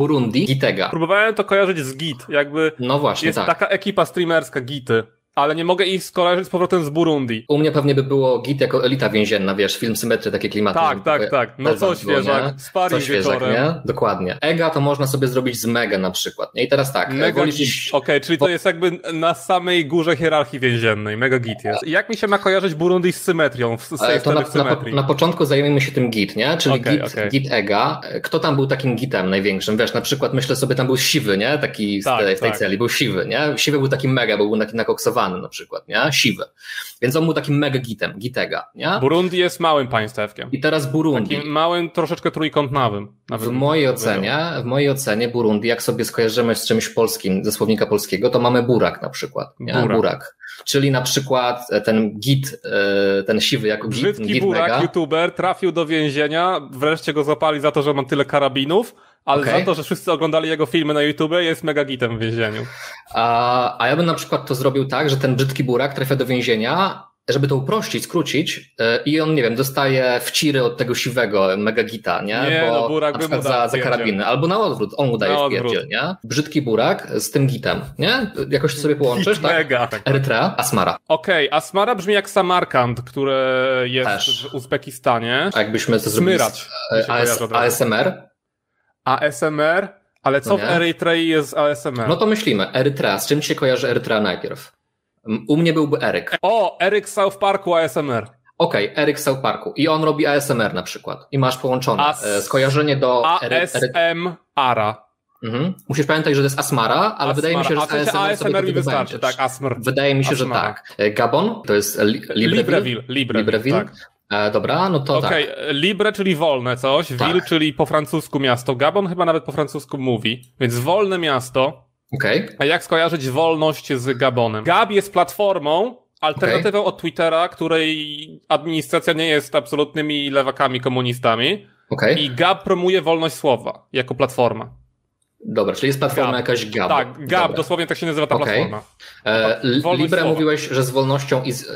Burundi, Gitega. Próbowałem to kojarzyć z Git, jakby No właśnie, jest tak. taka ekipa streamerska Gity, ale nie mogę ich skojarzyć z powrotem z Burundi. U mnie pewnie by było Git jako elita więzienna, wiesz, film symetry, takie klimaty. Tak, tak, tak. No co Bezant było, nie? świeżak, Co sparring świeżak, wieczorem. nie? Dokładnie. Ega to można sobie zrobić z Mega na przykład. Nie? I teraz tak, Mega wolisz git. Okej, czyli to jest jakby na samej górze hierarchii więziennej. Mega git jest. I jak mi się ma kojarzyć Burundi z symetrią, w, z Ale tej e, to na, w na, symetrii? po- na początku zajmiemy się tym git, nie? Czyli Okej, git, okej. git ega. Kto tam był takim gitem największym? Wiesz, na przykład myślę sobie, tam był siwy, nie? Taki z, Tak, tej, z tej tak. celi, był siwy, nie? Siwy był taki mega, bo był taki nakoksowany na przykład, nie? Siwy. Więc on był takim mega gitem, gitega, nie? Burundi jest małym państewkiem. I teraz Burundi. Takim małym, troszeczkę trójkątnawym. nawet W bym mojej tak powiedział. ocenie, w mojej ocenie Burundi, jak sobie skojarzymy z czymś polskim, ze słownika polskiego, to mamy burak na przykład. Nie? Burak. Burak. Czyli na przykład e, ten git, e, ten siwy jako git, Brzydki git burak, mega. youtuber, trafił do więzienia, wreszcie go zapali za to, że ma tyle karabinów, ale Okej. za to, że wszyscy oglądali jego filmy na YouTube, jest mega gitem w więzieniu. A, a ja bym na przykład to zrobił tak, że ten brzydki burak trafia do więzienia, żeby to uprościć, skrócić e, i on, nie wiem, dostaje wciry od tego siwego megagita, nie? Nie, Bo no, burak na by mu przykład dał za, za wpierdziel. karabiny. Albo na odwrót, on udaje Na w odwrót. pierdziel, nie? Brzydki burak z tym gitem, nie? Jakoś to sobie połączysz, tak? Mega. Erytrea, Asmara. Okej, Asmara brzmi jak Samarkand, które jest Też. w Uzbekistanie. A jakbyśmy to zrobili z e, Smyrać. mi się AS, kojarzy od razu. ASMR, ASMR? Ale co No w nie. Erytrei jest ASMR? no to myślimy. Erytrea, z czym ci się kojarzy Erytrea najpierw? M- U mnie byłby Eryk. O, Eryk z South Parku ASMR. Okej, Eryk z South Parku. I on robi ASMR na przykład. I masz połączone As- e, skojarzenie do Ery- Ery- ASM Ara. Mhm. Musisz pamiętać, że to jest Asmara, ale wydaje mi się, że A z w sensie ASMR, sobie ASMR tego mi wystarczy, wybędziesz. tak, ASMR. Wydaje mi się, że Asmara. tak. E, Gabon to jest li- Libreville. Libreville. Libreville, Libreville? tak. E, dobra, no to Okej, tak. libre, czyli wolne coś, Tak. ville, czyli po francusku miasto. Gabon chyba nawet po francusku mówi, więc wolne miasto. Okej. A jak skojarzyć wolność z Gabonem? Gab jest platformą, alternatywą od Twittera, której administracja nie jest absolutnymi lewakami, komunistami. Okej. I Gab promuje wolność słowa jako platforma. Dobra, czyli jest platforma Gab. jakaś Gab. Tak, Gab, Dobra. dosłownie tak się nazywa ta Okej. platforma. E, li- Wolność Libre słowa. mówiłeś, że z wolnością i z...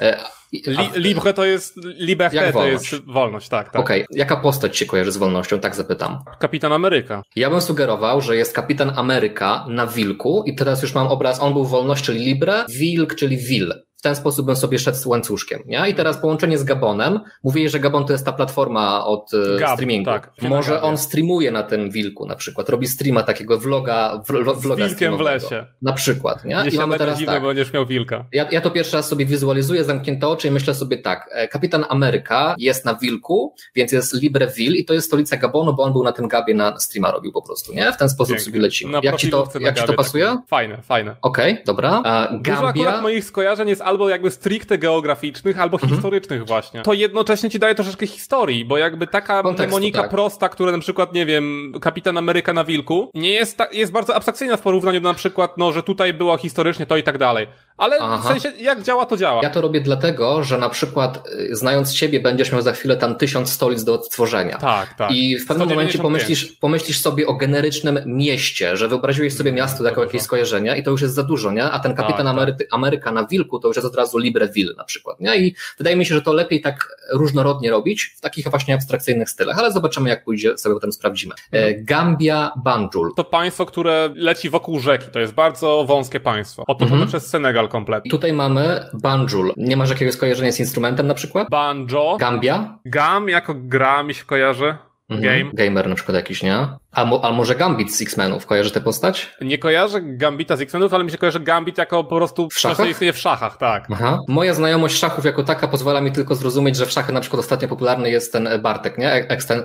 e, E, i- Li, a- libre to jest, liberté Jak to wolność. jest wolność, tak, tak. Okej, jaka postać się kojarzy z wolnością? Tak zapytam. Kapitan Ameryka. Ja bym sugerował, że jest kapitan Ameryka na wilku i teraz już mam obraz, on był wolność, czyli Libre, wilk, czyli Wil. W ten sposób bym sobie szedł z łańcuszkiem. Nie? I teraz połączenie z Gabonem. Mówili, że Gabon to jest ta platforma od e, Gab, streamingu. tak. Film na Może Gabie. on streamuje na tym wilku na przykład. Robi streama takiego vloga, vlo, Z vloga wilkiem w streamowego. lesie. Na przykład. Nie? Nie I mamy siadaj na teraz dziwne, tak. bo będziesz miał wilka. Ja, ja to pierwszy raz sobie wizualizuję, zamknięte oczy i myślę sobie tak, e, kapitan Ameryka jest na Wilku, więc jest Libreville i to jest stolica Gabonu, bo on był na tym Gabie na streama robił po prostu, nie? W ten sposób Pięknie. sobie lecimy. Na jak ci to, profilówce na jak ci to Gabie pasuje? takim. Fajne, fajne. Okej, dobra. A Dużo akurat Gambia, moich skojarzeń jest albo jakby stricte geograficznych, albo Mhm. historycznych właśnie. To jednocześnie ci daje troszeczkę historii, bo jakby taka Kontekstu, mnemonika tak. prosta, która na przykład, nie wiem, Kapitan Ameryka na Wilku, nie jest tak, jest bardzo abstrakcyjna w porównaniu do na przykład, no, że tutaj było historycznie to i tak dalej. Ale w Aha. sensie, jak działa, to działa. ja to robię dlatego, że na przykład y, znając ciebie będziesz miał za chwilę tam tysiąc stolic do odtworzenia. Tak, tak. I w pewnym 195. momencie pomyślisz, pomyślisz sobie o generycznym mieście, że wyobraziłeś sobie miasto jako Dobrze. jakieś skojarzenia i to już jest za dużo, nie? A ten kapitan Mhm, Tak, Amery- Ameryka na wilku to już jest od razu Libreville na przykład, nie? I wydaje mi się, że to lepiej tak różnorodnie robić w takich właśnie abstrakcyjnych stylach, ale zobaczymy jak pójdzie, sobie potem sprawdzimy. E, Mhm. Gambia Banjul. To państwo, które leci wokół rzeki, to jest bardzo wąskie państwo. Otoczone Mhm. przez Senegal kompletnie. Tutaj mamy Banjul. Nie masz jakiegoś skojarzenia z instrumentem na przykład? Banjo. Gambia? Mhm. Gam jako gra mi się kojarzy. Game. Gamer na przykład jakiś, nie? A, mo- a może Gambit z X-Menów? Kojarzy tę postać? Nie kojarzę Gambita z X-Menów, ale mi się kojarzy Gambit jako po prostu W szachach? coś, co istnieje w szachach, tak. Aha. Moja znajomość szachów jako taka pozwala mi tylko zrozumieć, że w szachy na przykład ostatnio popularny jest ten e, Bartek, nie? Eksten,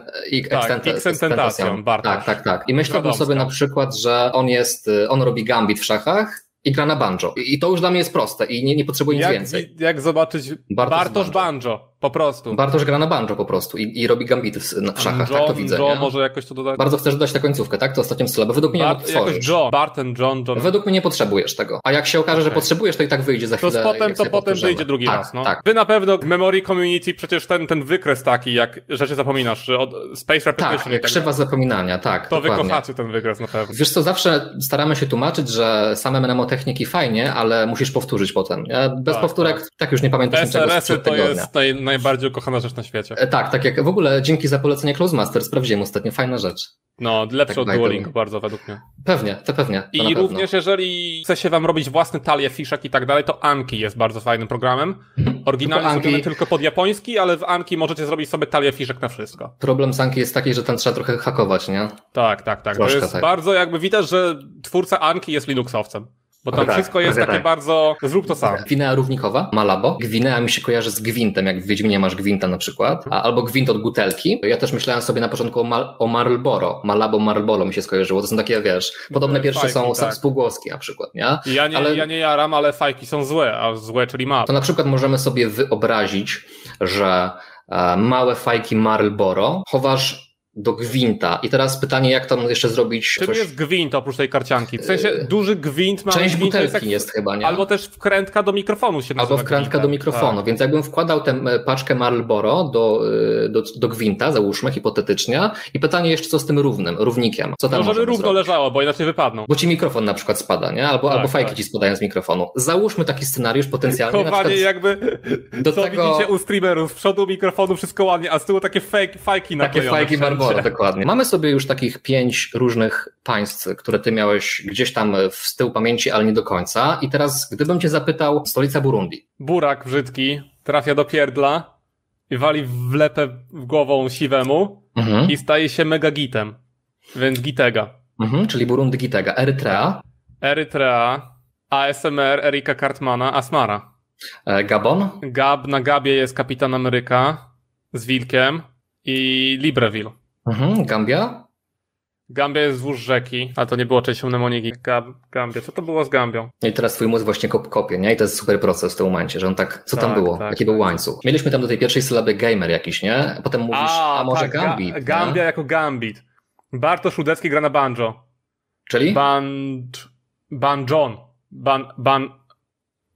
Tak, Xtentacion, Bartek. Tak, tak, tak. I myślałbym Radomska. sobie na przykład, że on jest, y, on robi gambit w szachach i gra na banjo. I i to już dla mnie jest proste i nie, nie potrzebuję nic Jak, więcej. jak zobaczyć Bartosz Bartosz Banjo, po prostu. Bartosz gra na banjo po prostu i, i robi gambity w, na- w szachach, tak to John, widzę. John, nie? może jakoś to dodać. Bardzo chcesz dodać tę końcówkę, tak? To ostatnią sylabę. Według mnie ją Bart, jakoś tworzysz. John, Barton, John, John. Według mnie nie potrzebujesz tego. A jak się okaże, że Okej. potrzebujesz, to i tak wyjdzie za To chwilę. z potem, jak to sobie potem powtórzymy. wyjdzie drugi tak, raz, no. Tak, Wy na pewno w Memory Community przecież ten, ten wykres taki, jak rzeczy zapominasz, że od Space tak. Repetition i tak, Krzywa zapominania, tak. To wy dokładnie. kochacie ten wykres na pewno. Wiesz co, zawsze staramy się tłumaczyć, że same mnemotechniki fajnie, ale musisz powtórzyć potem. nie? Bez Tak, powtórek tak. już nie pamiętasz niczego SRS-y sprzed y to tygodnia. jest naj, najbardziej ukochana rzecz na świecie. E, Tak, tak jak w ogóle dzięki za polecenie Close Master sprawdziłem ostatnio, fajna rzecz. No, lepszy Tak, od Duolingo najdobrze. bardzo według mnie. Pewnie, to pewnie. To na I pewno. również jeżeli chce się wam robić własny talie, fiszek i tak dalej, to Anki jest bardzo fajnym programem. Mhm. Oryginalnie Tylko tylko Anki- zrobiony tylko pod japoński, ale w Anki możecie zrobić sobie talię fiszek na wszystko. Problem Sanki jest taki, że tam trzeba trochę hakować, nie? Tak, tak, tak. Troszkę to jest tak. bardzo jakby widać, że twórca Anki jest Linuxowcem. Bo tam Tak, wszystko jest prawie takie tak. bardzo zrób to sam. Gwinea równikowa, Malabo. Gwinea mi się kojarzy z gwintem, jak w Wiedźminie masz gwinta na Mhm. przykład, a, albo gwint od butelki. Ja też myślałem sobie na początku o, mal, o Marlboro. Malabo, Marlboro mi się skojarzyło. To są takie, wiesz, podobne pierwsze są Fajki, tak. współgłoski na przykład, nie? Ja nie, Ale- ja nie jaram, ale fajki są złe, a złe czyli ma. To na przykład możemy sobie wyobrazić, że e, małe fajki Marlboro chowasz do gwinta. I teraz pytanie, jak tam jeszcze zrobić Czym coś... jest gwint oprócz tej karcianki? W sensie Yy, duży gwint ma Część gwint to butelki jest jest, jak- chyba, nie? Albo też wkrętka do mikrofonu się nazywa Albo wkrętka gwintem. do mikrofonu. Tak. Więc jakbym wkładał tę e, paczkę Marlboro do, e, do, do gwinta, załóżmy hipotetycznie, i pytanie jeszcze co z tym równym, równikiem. Co tam No, żeby możemy równo zrobić? leżało, bo inaczej wypadną. Bo ci mikrofon na przykład spada, nie? Albo, Tak, albo fajki tak. ci spadają z mikrofonu. Załóżmy taki scenariusz potencjalnie. Na przykład Chowanie jakby, do co tego widzicie u streamerów, z przodu mikrofonu wszystko ładnie, a z tyłu takie fake, fajki takie naklejone fajki wszędzie. Marlboro, dokładnie. Mamy sobie już takich pięć różnych państw, które ty miałeś gdzieś tam e, w tył pamięci, ale nie do końca. I teraz, gdybym cię zapytał, stolica Burundi. Burak brzydki trafia do pierdla i wali w lepę w głową siwemu Mhm. i staje się mega gitem. Więc gitega. Mhm. Czyli Burundi Gitega, Erytrea, Erytrea, ASMR Erika Kartmana, Asmara. e, Gabon, Gab na Gabie jest Kapitan Ameryka z Wilkiem i Libreville. mhm. Gambia, Gambia jest wzdłuż rzeki, a to nie było częścią mnemoniki. Gab, Gambia, co to było z Gambią? No I teraz twój mózg właśnie kop, kopie, nie? I to jest super proces w tym momencie, że on tak, co tam Tak, było? tak, Jaki był łańcuch? Mieliśmy tam do tej pierwszej sylaby gamer jakiś, nie? Potem mówisz, a, może tak, Ga- Gambit, nie? Gambia jako Gambit. Bartosz Rudecki gra na banjo. Czyli? Band... Banjon. Ban... Ban...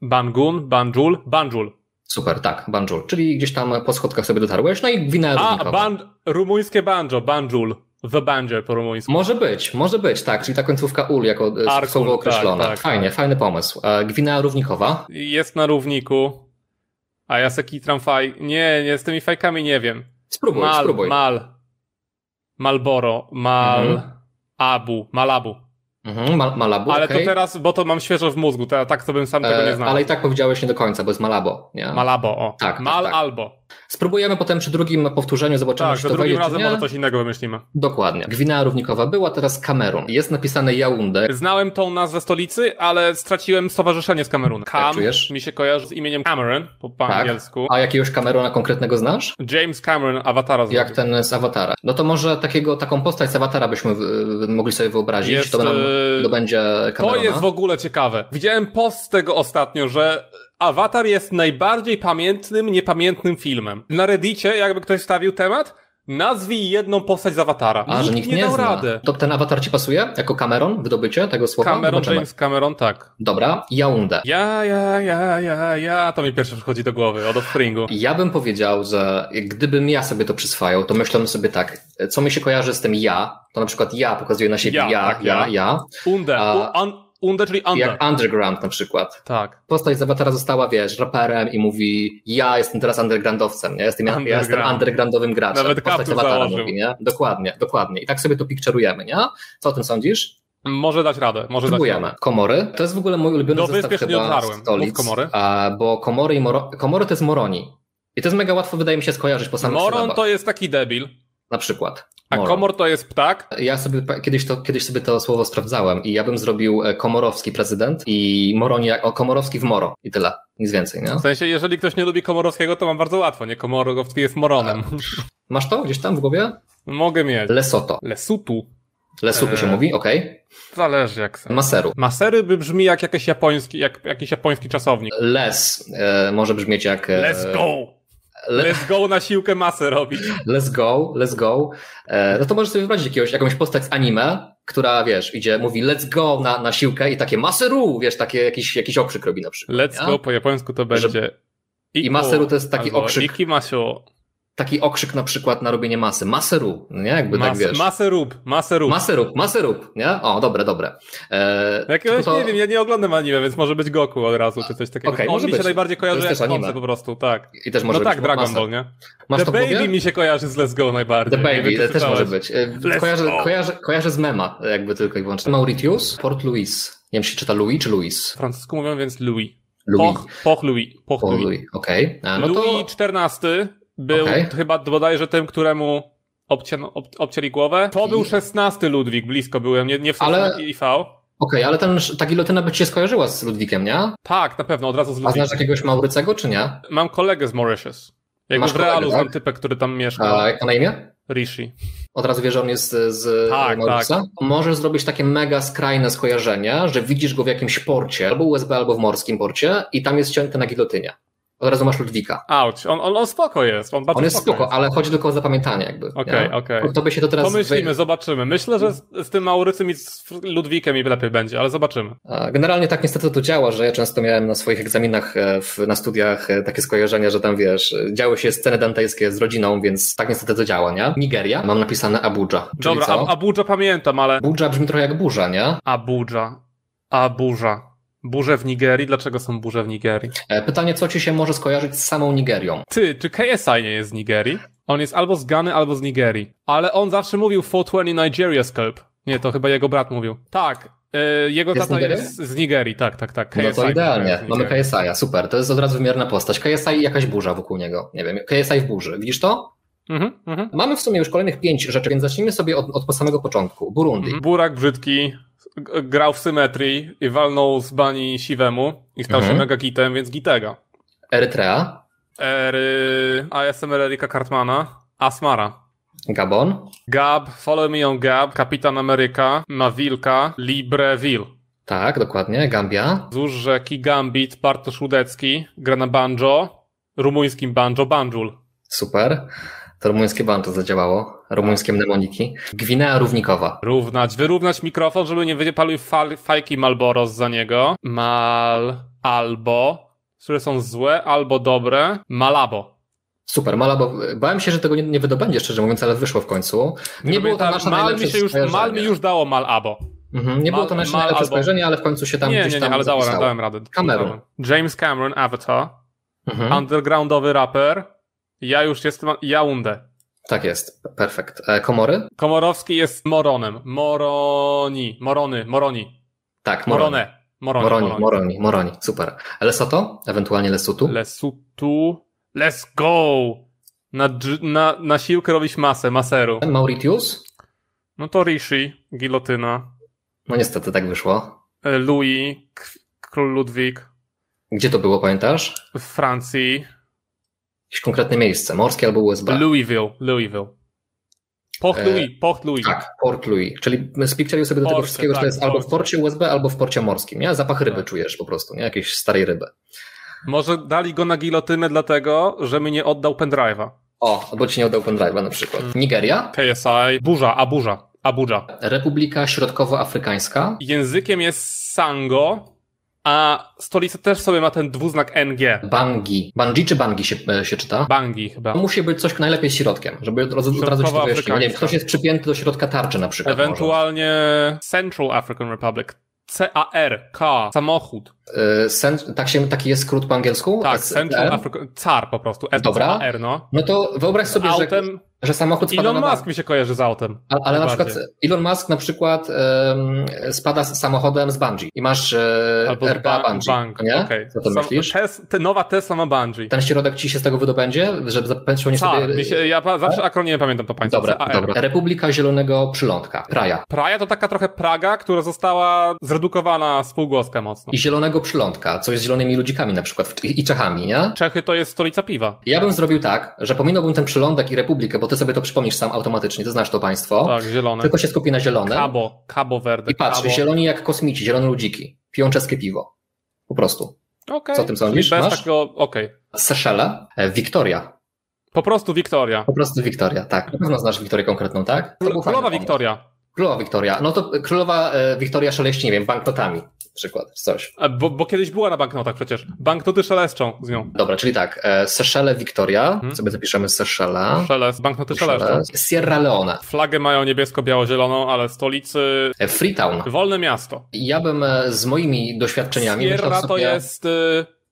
Bangun? Banjul? Banjul. Super, tak, Banjul. Czyli gdzieś tam po schodkach sobie dotarłeś, no i gwina A, równikowa. ban... rumuńskie banjo. Banjul. The banjo po rumuńsku. Może być, może być, tak. Czyli ta końcówka ul jako e, Arkul, słowo tak, określone. tak, Fajnie, tak. fajny pomysł. E, Gwinea równikowa. Jest na równiku. A ja se kitram faj... Nie, nie, z tymi fajkami nie wiem. Spróbuj, mal, spróbuj. mal. Malboro. Mal... Mhm. Abu. Malabu. Mhm, Mal- Malabu, Ale okej. to teraz, bo to mam świeżo w mózgu, to ja tak to bym sam tego nie E, znał. ale i tak powiedziałeś nie do końca, bo jest Malabo, nie? Malabo, o. Tak, tak, Mal tak. albo. Spróbujemy potem przy drugim powtórzeniu, zobaczymy, Tak, czy to to wejdzie, drugim czy razem nie. może coś innego wymyślimy. Dokładnie. Gwinea równikowa była, teraz Kamerun. Jest napisane Jaunde. Znałem tą nazwę stolicy, ale straciłem stowarzyszenie z Kamerunem. Kam czujesz? mi się kojarzy z imieniem Cameron po, po Tak. angielsku. A jakiegoś Kameruna konkretnego znasz? James Cameron, awatara zrobił. Jak ten z Awatara. No to może takiego, taką postać z Awatara byśmy y, mogli sobie wyobrazić. Jest, to, nam, y, to będzie To Kameruna. jest w ogóle ciekawe. Widziałem post tego ostatnio, że Avatar jest najbardziej pamiętnym, niepamiętnym filmem. Na Reddicie, jakby ktoś stawił temat, nazwij jedną postać z Avatara. A, że nikt nie, dał zna. rady. To ten Awatar ci pasuje? Jako Cameron? Wydobycie tego słowa? Cameron, Zobaczymy. James Cameron, tak. Dobra, Jaunde. Ja, ja, ja, ja, ja, to mi pierwsze przychodzi do głowy, od Offspringu. Ja bym powiedział, że gdybym ja sobie to przyswajał, to myślałem sobie tak, co mi się kojarzy z tym ja, to na przykład ja pokazuje na siebie Ja, ja, ja, tak, ja. ja, Unde, A- u, un, unde, czyli Unde. jak underground na przykład. Tak. postać z Avatara została, wiesz, raperem i mówi, ja jestem teraz undergroundowcem, nie? Jestem, ja, ja Underground. jestem undergroundowym graczem. Nawet postać z kaptur Avatara założył. mówi, nie? Dokładnie, dokładnie. I tak sobie to pikczerujemy, nie? Co o tym sądzisz? Może dać radę, może tak. dać Spróbujemy. radę. Komory. To jest w ogóle mój ulubiony Do zestaw Wyspież nie chyba dotarłem. stolic, Mów Komory. a, bo Komory i Moro... Komory to jest Moroni. I to jest mega łatwo, wydaje mi się, skojarzyć po samych Moron sylabach, to jest taki debil, na przykład. a Moron. Komor to jest ptak. Ja sobie pa- kiedyś, to, kiedyś sobie to słowo sprawdzałem i ja bym zrobił e, komorowski prezydent i Moroni, jak- o, komorowski w Moro i tyle, nic więcej, nie? W sensie, jeżeli ktoś nie lubi Komorowskiego, to mam bardzo łatwo, nie? Komorowski jest Moronem. Tak. Masz to gdzieś tam w głowie? Mogę mieć. Lesoto. Lesutu. Lesuku się Eee. mówi, okej. Zależy jak se. Maseru. Masery by brzmi jak, jakiś japoński, jak jakiś japoński czasownik. Les e, może brzmieć jak. E, Let's go! Le, Let's go na siłkę masę robić. let's go, let's go. E, no to możesz sobie wyobrazić jakiegoś, jakąś postać z anime, która wiesz, idzie, mówi let's go na, na siłkę i takie maseru, wiesz, takie jakiś, jakiś okrzyk robi na przykład. Let's nie? go po japońsku to będzie. I maseru to jest taki albo okrzyk. Ikimasio. taki okrzyk na przykład na robienie masy. Masę rób, nie? Jakby Mas, tak wiesz. Masę rób, masę rób. Masę rób, masę rób, nie? O, dobre, dobre. E, Jakiegoś, tylko to- nie wiem, ja nie oglądam anime, więc może być Goku od razu, czy coś takiego. Okej, On może mi się być. najbardziej kojarzy To jak jest też anime. Polsce po prostu, tak. I też może no być tak, Dragon masa. Ball, nie? Masz The to w głowie? Baby mi się kojarzy z Let's Go najbardziej. The nie wiem, Baby, czy to też czytałeś. może być. E, Let's Kojarzę, go. kojarzę, kojarzę z mema, jakby tylko i wyłącznie. Mauritius, Port Louis. Nie wiem, czy się czyta Louis czy Louis? Po francusku mówią więc Louis. Louis. Poch, poch Louis. Poch Port Louis. Louis, okej. A, No to... Louis XIV był Okej. chyba bodajże tym, któremu obcięno, ob, obcięli głowę. To I- był XVI Ludwik, blisko byłem, nie, nie w Ale- Ale... IV. Okej, ale ten, ta gilotyna by ci się skojarzyła z Ludwikiem, nie? Tak, na pewno, od razu z A znaczy- Ludwikiem. znasz jakiegoś Maurycego, czy nie? Mam kolegę z Mauritius. Jakby Masz w realu kolegę, znam tak? typę, który tam mieszka. A jak ma na imię? Rishi. Od razu wie, że on jest e, z Tak, Maurisa. Możesz zrobić takie mega skrajne skojarzenia, że widzisz go w jakimś porcie, albo USB, albo w morskim porcie i tam jest cięty na gilotynie. Od razu masz Ludwika. Auć, on, on, on spoko jest. On, bardzo On jest spoko. spoko, ale chodzi tylko o zapamiętanie jakby. Okej, nie? okej. To by się to teraz... Pomyślimy, zobaczymy. Myślę, że z, z tym Maurycym i z Fr- Ludwikiem mi lepiej będzie, ale zobaczymy. A Generalnie tak niestety to działa, że ja często miałem na swoich egzaminach e, w, na studiach e, takie skojarzenia, że tam wiesz, e, działy się sceny dantejskie z rodziną, więc tak niestety to działa, nie? Nigeria, mam napisane Abuja. Czyli Dobra, co? Ab- Abuja pamiętam, ale... Abuja brzmi trochę jak burza, nie? Abuja. Abuja. Burze w Nigerii? Dlaczego są burze w Nigerii? E, Pytanie, co ci się może skojarzyć z samą Nigerią? Ty, czy KSI nie jest z Nigerii? On jest albo z Gany, albo z Nigerii. Ale on zawsze mówił 420 Nigeria Scope. Nie, to chyba jego brat mówił. Tak. y, jego Jest z tata Nigerii? jest z Nigerii, tak, tak, tak. No KSI to nie idealnie. jest z Mamy Nigerii. KSI, super. To jest od razu wymierna postać. KSI i jakaś burza wokół niego. Nie wiem, KSI w burzy. Widzisz to? Mhm, mhm. Mamy w sumie już kolejnych pięć rzeczy, więc zacznijmy sobie od, od samego początku. Burundi. Burak brzydki, g- grał w symetrii i walnął z bani siwemu i stał Mhm. się mega gitem, więc gitega. Erytrea. Ery, ASMR Erika Kartmana, Asmara. Gabon. Gab, Follow Me on Gab, Kapitan Ameryka, Mawilka, Libreville. Tak, dokładnie. Gambia. Wzdłuż rzeki Gambit, Bartosz Łódecki, gra na banjo, rumuńskim banjo, banjul. Super. To rumuńskie banto zadziałało. Rumuńskie mnemoniki. Gwinea Równikowa. Równać, wyrównać mikrofon, żeby nie wypalił fal, fajki Malboro za niego. Mal, albo, które są złe albo dobre, Malabo. Super, Malabo. Bałem się, że tego nie, nie wydobędzie, szczerze mówiąc, ale wyszło w końcu. Nie, było to pamiętam, nasze mal mi najlepsze się już, Mal mi skojarzenie. już dało Malabo. Mhm, nie Mal- było to nasze Mal najlepsze albo- skojarzenie, ale w końcu się tam nie, gdzieś nie, tam nie, ale dałem, zapisało. dałem radę. Cameron. Dałem. James Cameron, Avatar, Mhm. undergroundowy raper. Ja już jestem Jaunde. Tak jest, perfekt. E, Komory? Komorowski jest Moronem. Moroni. Morony. Moroni. Tak, Morone. Morone. Moroni. Moroni, Moroni, Moroni. Moroni, super. Lesoto? Ewentualnie Lesutu? Lesutu. Let's go! Na, dż- na, na siłkę robić masę, maseru. Mauritius? No to Rishi, gilotyna. No niestety tak wyszło. E, Louis, k- król Ludwik. Gdzie to było, pamiętasz? W Francji. Jakieś konkretne miejsce, morskie albo USB? Louisville. Louisville. Port Tak. E, Louis. Port Louis. tak, Port Louis. Czyli spikczeli sobie do tego Porcie, wszystkiego, że tak, to jest albo w porcie. porcie USB, albo w porcie morskim, nie? Zapach ryby Tak. czujesz po prostu, nie? Jakiejś starej ryby. Może dali go na gilotynę dlatego, że mi nie oddał pendrive'a. O, albo ci nie oddał pendrive'a na przykład. Mm. Nigeria? KSI. Burza, Abuja. Abuja. Republika Środkowoafrykańska? Językiem jest Sango, a stolica też sobie ma ten dwuznak NG. Bangi. Bangi czy Bangi się, e, się czyta? Bangi chyba. Musi być coś najlepiej z środkiem, żeby od razu, od razu ci to wyjaśniło. Nie wiem, Środkowoafrykańska. ktoś jest przypięty do środka tarczy na przykład. może. Ewentualnie Central African Republic. CAR, K, samochód. Y, sen, tak się, taki jest skrót po angielsku? Tak, S- Central R? African. CAR po prostu. F, Dobra. C, A, R, no. No to wyobraź sobie, że, Autem. że samochód spada Elon na Musk mi się kojarzy z autem. A- Ale na najbardziej. przykład Elon Musk na przykład em, spada z samochodem z bungee i masz e, Albo RPA ba- bungee, bank. nie? okej. Co ty Sam- myślisz? Tes, te nowa Tesla ma Bungee. Ten środek ci się z tego wydobędzie, żeby zapewnić CAR. sobie... Tak, Mi się, ja pa- zawsze akronim pamiętam to państwo. Dobra, CAR. dobra. Republika Zielonego Przylądka, Praja. Praja to taka trochę Praga, która została zredukowana spółgłoska mocno. I Zielonego Przylądka, coś z zielonymi ludzikami na przykład w- i i Czechami, nie? Czechy to jest stolica piwa. Ja bym zrobił tak, że pominąłbym ten przylądek i republikę, bo ty sobie to przypomnisz sam automatycznie, ty znasz to państwo, Tak, zielone. tylko się skupi na zielonym Cabo, Cabo Verde. i patrz, Cabo. zieloni jak kosmici, zielone ludziki, piją czeskie piwo. Po prostu. Okej, co o tym czyli sądzisz? Bez Masz? takiego, okej. Seszele, e, Wiktoria. Po prostu Wiktoria. Po prostu Wiktoria, tak. Na pewno znasz Wiktorię konkretną, tak? To był fajny Królowa pomysł. Wiktoria. Królowa Wiktoria. No to e, królowa e, Wiktoria szaleści, nie wiem, banknotami. przykład, coś. A, Bo, bo kiedyś była na banknotach przecież. Banknoty szeleszczą z nią. Dobra, czyli tak, e, Seszele, Wiktoria, Mhm. sobie zapiszemy Seszele. Szelest, banknoty szeleszczą. Sierra Leone, Flagę mają niebiesko-biało-zieloną, ale stolicy... e, Freetown. Wolne miasto. Ja bym e, z moimi doświadczeniami... Sierra myślał to sobie- jest y,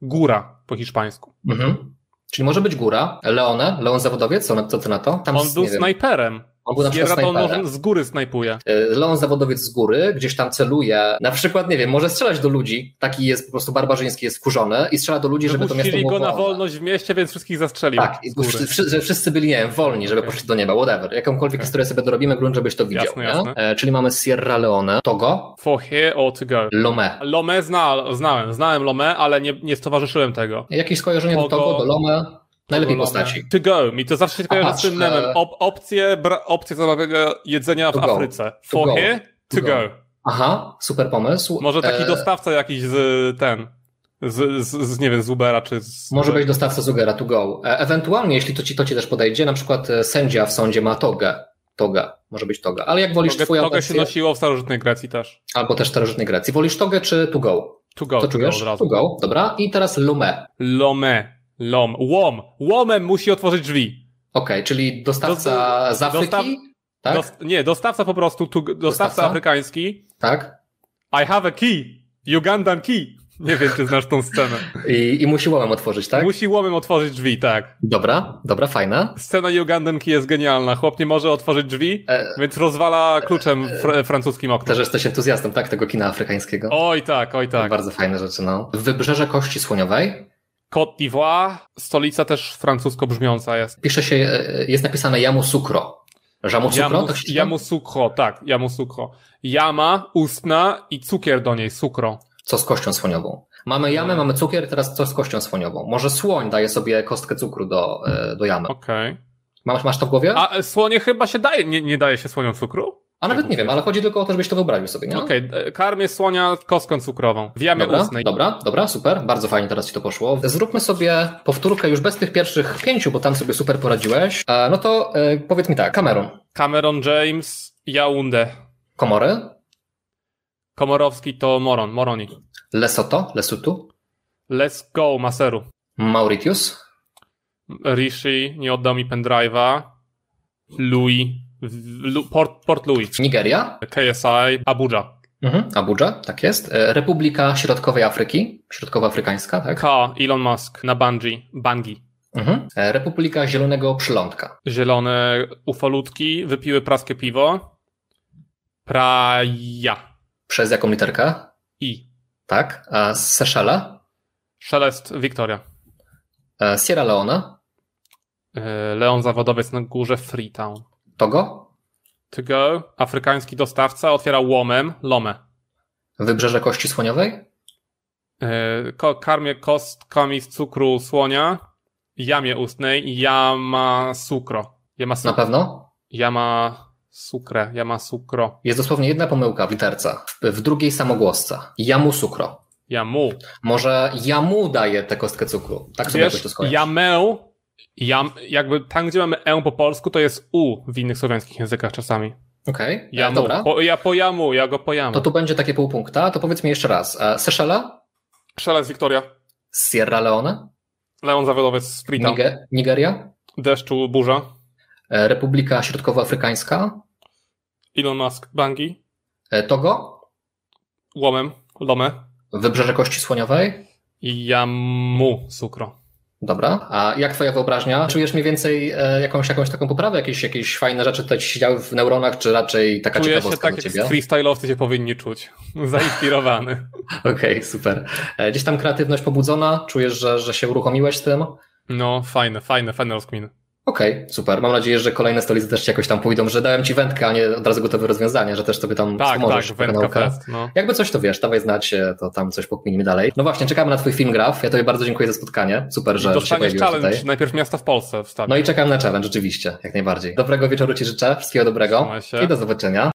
góra po hiszpańsku. Mhm. Czyli może być góra, Leone, Leon Zawodowiec, co, na- co ty na to? Tam On z- był nie wiem, snajperem. on był na przykład Sierra to on snajperem. może z góry snajpuje. E, Leon Zawodowiec z góry, gdzieś tam celuje, na przykład, nie wiem, może strzelać do ludzi, taki jest po prostu barbarzyński, jest wkurzony i strzela do ludzi, żeby to miasto Wypuścili było go na wolne. wolność w mieście, więc wszystkich zastrzelił. Tak, i z góry. wszy- wszy- że wszyscy byli, nie wiem, wolni, żeby Okej. poszli do nieba, whatever. Jakąkolwiek Okej. historię sobie dorobimy, grunt, żebyś to widział. Jasne, nie? jasne. E, czyli mamy Sierra Leone, Togo, For here or to go. Lomé. Lomé zna, znałem, znałem Lomé, ale nie, nie stowarzyszyłem tego. Jakieś skojarzenie do Togo. Togo, do Lomé? Najlepiej Lomé. postaci. To go, mi to zawsze się kojarzy Aha, z tym że- memem. Op, opcje, bra, opcje zabawnego jedzenia To w go. Afryce. To go. For here, to To go. go. Aha, super pomysł. Może taki E, dostawca jakiś z ten, z, z, z nie wiem, z Ubera czy z... Może być dostawca Zugera to go. E, Ewentualnie, jeśli to ci, to ci też podejdzie, na przykład e, sędzia w sądzie ma togę. Toga, może być toga. Ale jak wolisz Togę- twoją Togę się wersję, nosiło w starożytnej Grecji też. albo też starożytnej Grecji, wolisz togę czy to go? To go, To to go czujesz? od To razu. go, dobra. I teraz Lomé. Lomé. Lom. Łom. Łomem musi otworzyć drzwi. Okej, czyli dostawca z Afryki, dostaw- tak? Dost, nie, dostawca po prostu, tu, dostawca, Dostawca? afrykański. tak? I have a key. Ugandan key. Nie wiem, czy znasz tą scenę. I, I musi łomem otworzyć, tak? Musi łomem otworzyć drzwi, tak. Dobra, dobra, fajna. Scena Ugandan key jest genialna. Chłop nie może otworzyć drzwi, E, więc rozwala kluczem fr francuskim okno. też jesteś entuzjastą, tak, tego kina afrykańskiego? Oj tak, oj tak. Bardzo fajne rzeczy, no. Wybrzeże Kości Słoniowej Côte d'Ivoire, stolica też francusko brzmiąca jest. pisze się, e, jest napisane Yamoussoukro. Jamusukro? Jamu, to się czyta? jamu sukro, tak, jamu sukro. Jama, ustna i cukier do niej, sukro. Co z kością słoniową? Mamy jamę, mamy cukier, teraz co z kością słoniową? Może słoń daje sobie kostkę cukru do, e, do jamy. Okej. Masz, masz to w głowie? A, A e, słonie chyba się daje, nie, nie daje się słoniom cukru? nawet nie wiem, ale chodzi tylko o to, żebyś to wyobraził sobie, nie? Okej, e, karmię słonia kostką cukrową. W jamie No. Dobra, ustnej. dobra, dobra, super, bardzo fajnie teraz ci to poszło. Zróbmy sobie powtórkę już bez tych pierwszych pięciu, bo tam sobie super poradziłeś. E, no to e, powiedz mi tak, Cameron, Cameron James, Jaunde. Komory, Komorowski to Moron, Moroni. Lesoto, Lesutu, Let's go, Maseru. Mauritius, Rishi, nie oddał mi pendrive'a. Louis, w- Lu, Port, Port Louis. Nigeria, KSI, Abuja. mhm. Abuja, tak jest, e, Republika Środkowej Afryki, Środkowoafrykańska, tak? K, Elon Musk, na Bungie, Bangi. Mhm. E, Republika Zielonego Przylądka, Zielone ufolutki, wypiły praskie piwo. Praja. przez jaką literkę? I. Tak, a z Seszela, Szelest, Wiktoria. e, Sierra Leone, E, Leon Zawodowiec na górze Freetown. Togo, To go, afrykański dostawca, otwiera łomem, lomę. Wybrzeże Kości Słoniowej, E, Ko karmię kostkami z cukru słonia, jamie ustnej, jama sukro. Jama na sukro. pewno. Jama sukre, jama sukro. Jest dosłownie jedna pomyłka w literce, w, w drugiej samogłosce. Jamu cukro. Jamu. Może jamu daje tę kostkę cukru. Tak sobie jakoś Wiesz, to skojarzy. jamę, jam, jakby tam, gdzie mamy e po polsku, to jest u w innych słowiańskich językach czasami. Okej, e, Jamu. dobra. Po, ja po jamu, ja go po jamu. To tu będzie takie pół punkta. To powiedz mi jeszcze raz. e, Seszela, Szelest, Wiktoria. Sierra Leone, Leon Zawodowiec z Freetown. Nige- Nigeria, Deszczu, burza. e, Republika Środkowoafrykańska, Elon Musk, Bangi, e, Togo, Łomem, Lomę, Wybrzeże Kości Słoniowej. Jamu, Sukro. Dobra. A jak twoja wyobraźnia? Czujesz mniej więcej e, jakąś, jakąś taką poprawę? Jakieś, jakieś fajne rzeczy tutaj ci siedziały w neuronach, czy raczej taka Czuję się ciekawostka tak, dla jak ciebie? freestyle'owcy się powinni czuć. Zainspirowany. Okej, super. E, Gdzieś tam kreatywność pobudzona? Czujesz, że, że się uruchomiłeś z tym? No, fajne, fajne, fajne rozkminy. Okej, super. Mam nadzieję, że kolejne stolice też ci jakoś tam pójdą, że dałem ci wędkę, a nie od razu gotowe rozwiązanie, że też sobie tam Tak, tak, pomożesz. wędka fest, no. Jakby coś to wiesz, dawaj znać, e, to tam coś pokminimy dalej. No właśnie, czekamy na twój film Graf. Ja tobie bardzo dziękuję za spotkanie. Super, że że się Dostaniesz pojawiłeś challenge, tutaj. najpierw miasta w Polsce wstawię. No i czekam na challenge, rzeczywiście, jak najbardziej. Dobrego wieczoru ci życzę, wszystkiego dobrego Trzymaj się. i do zobaczenia.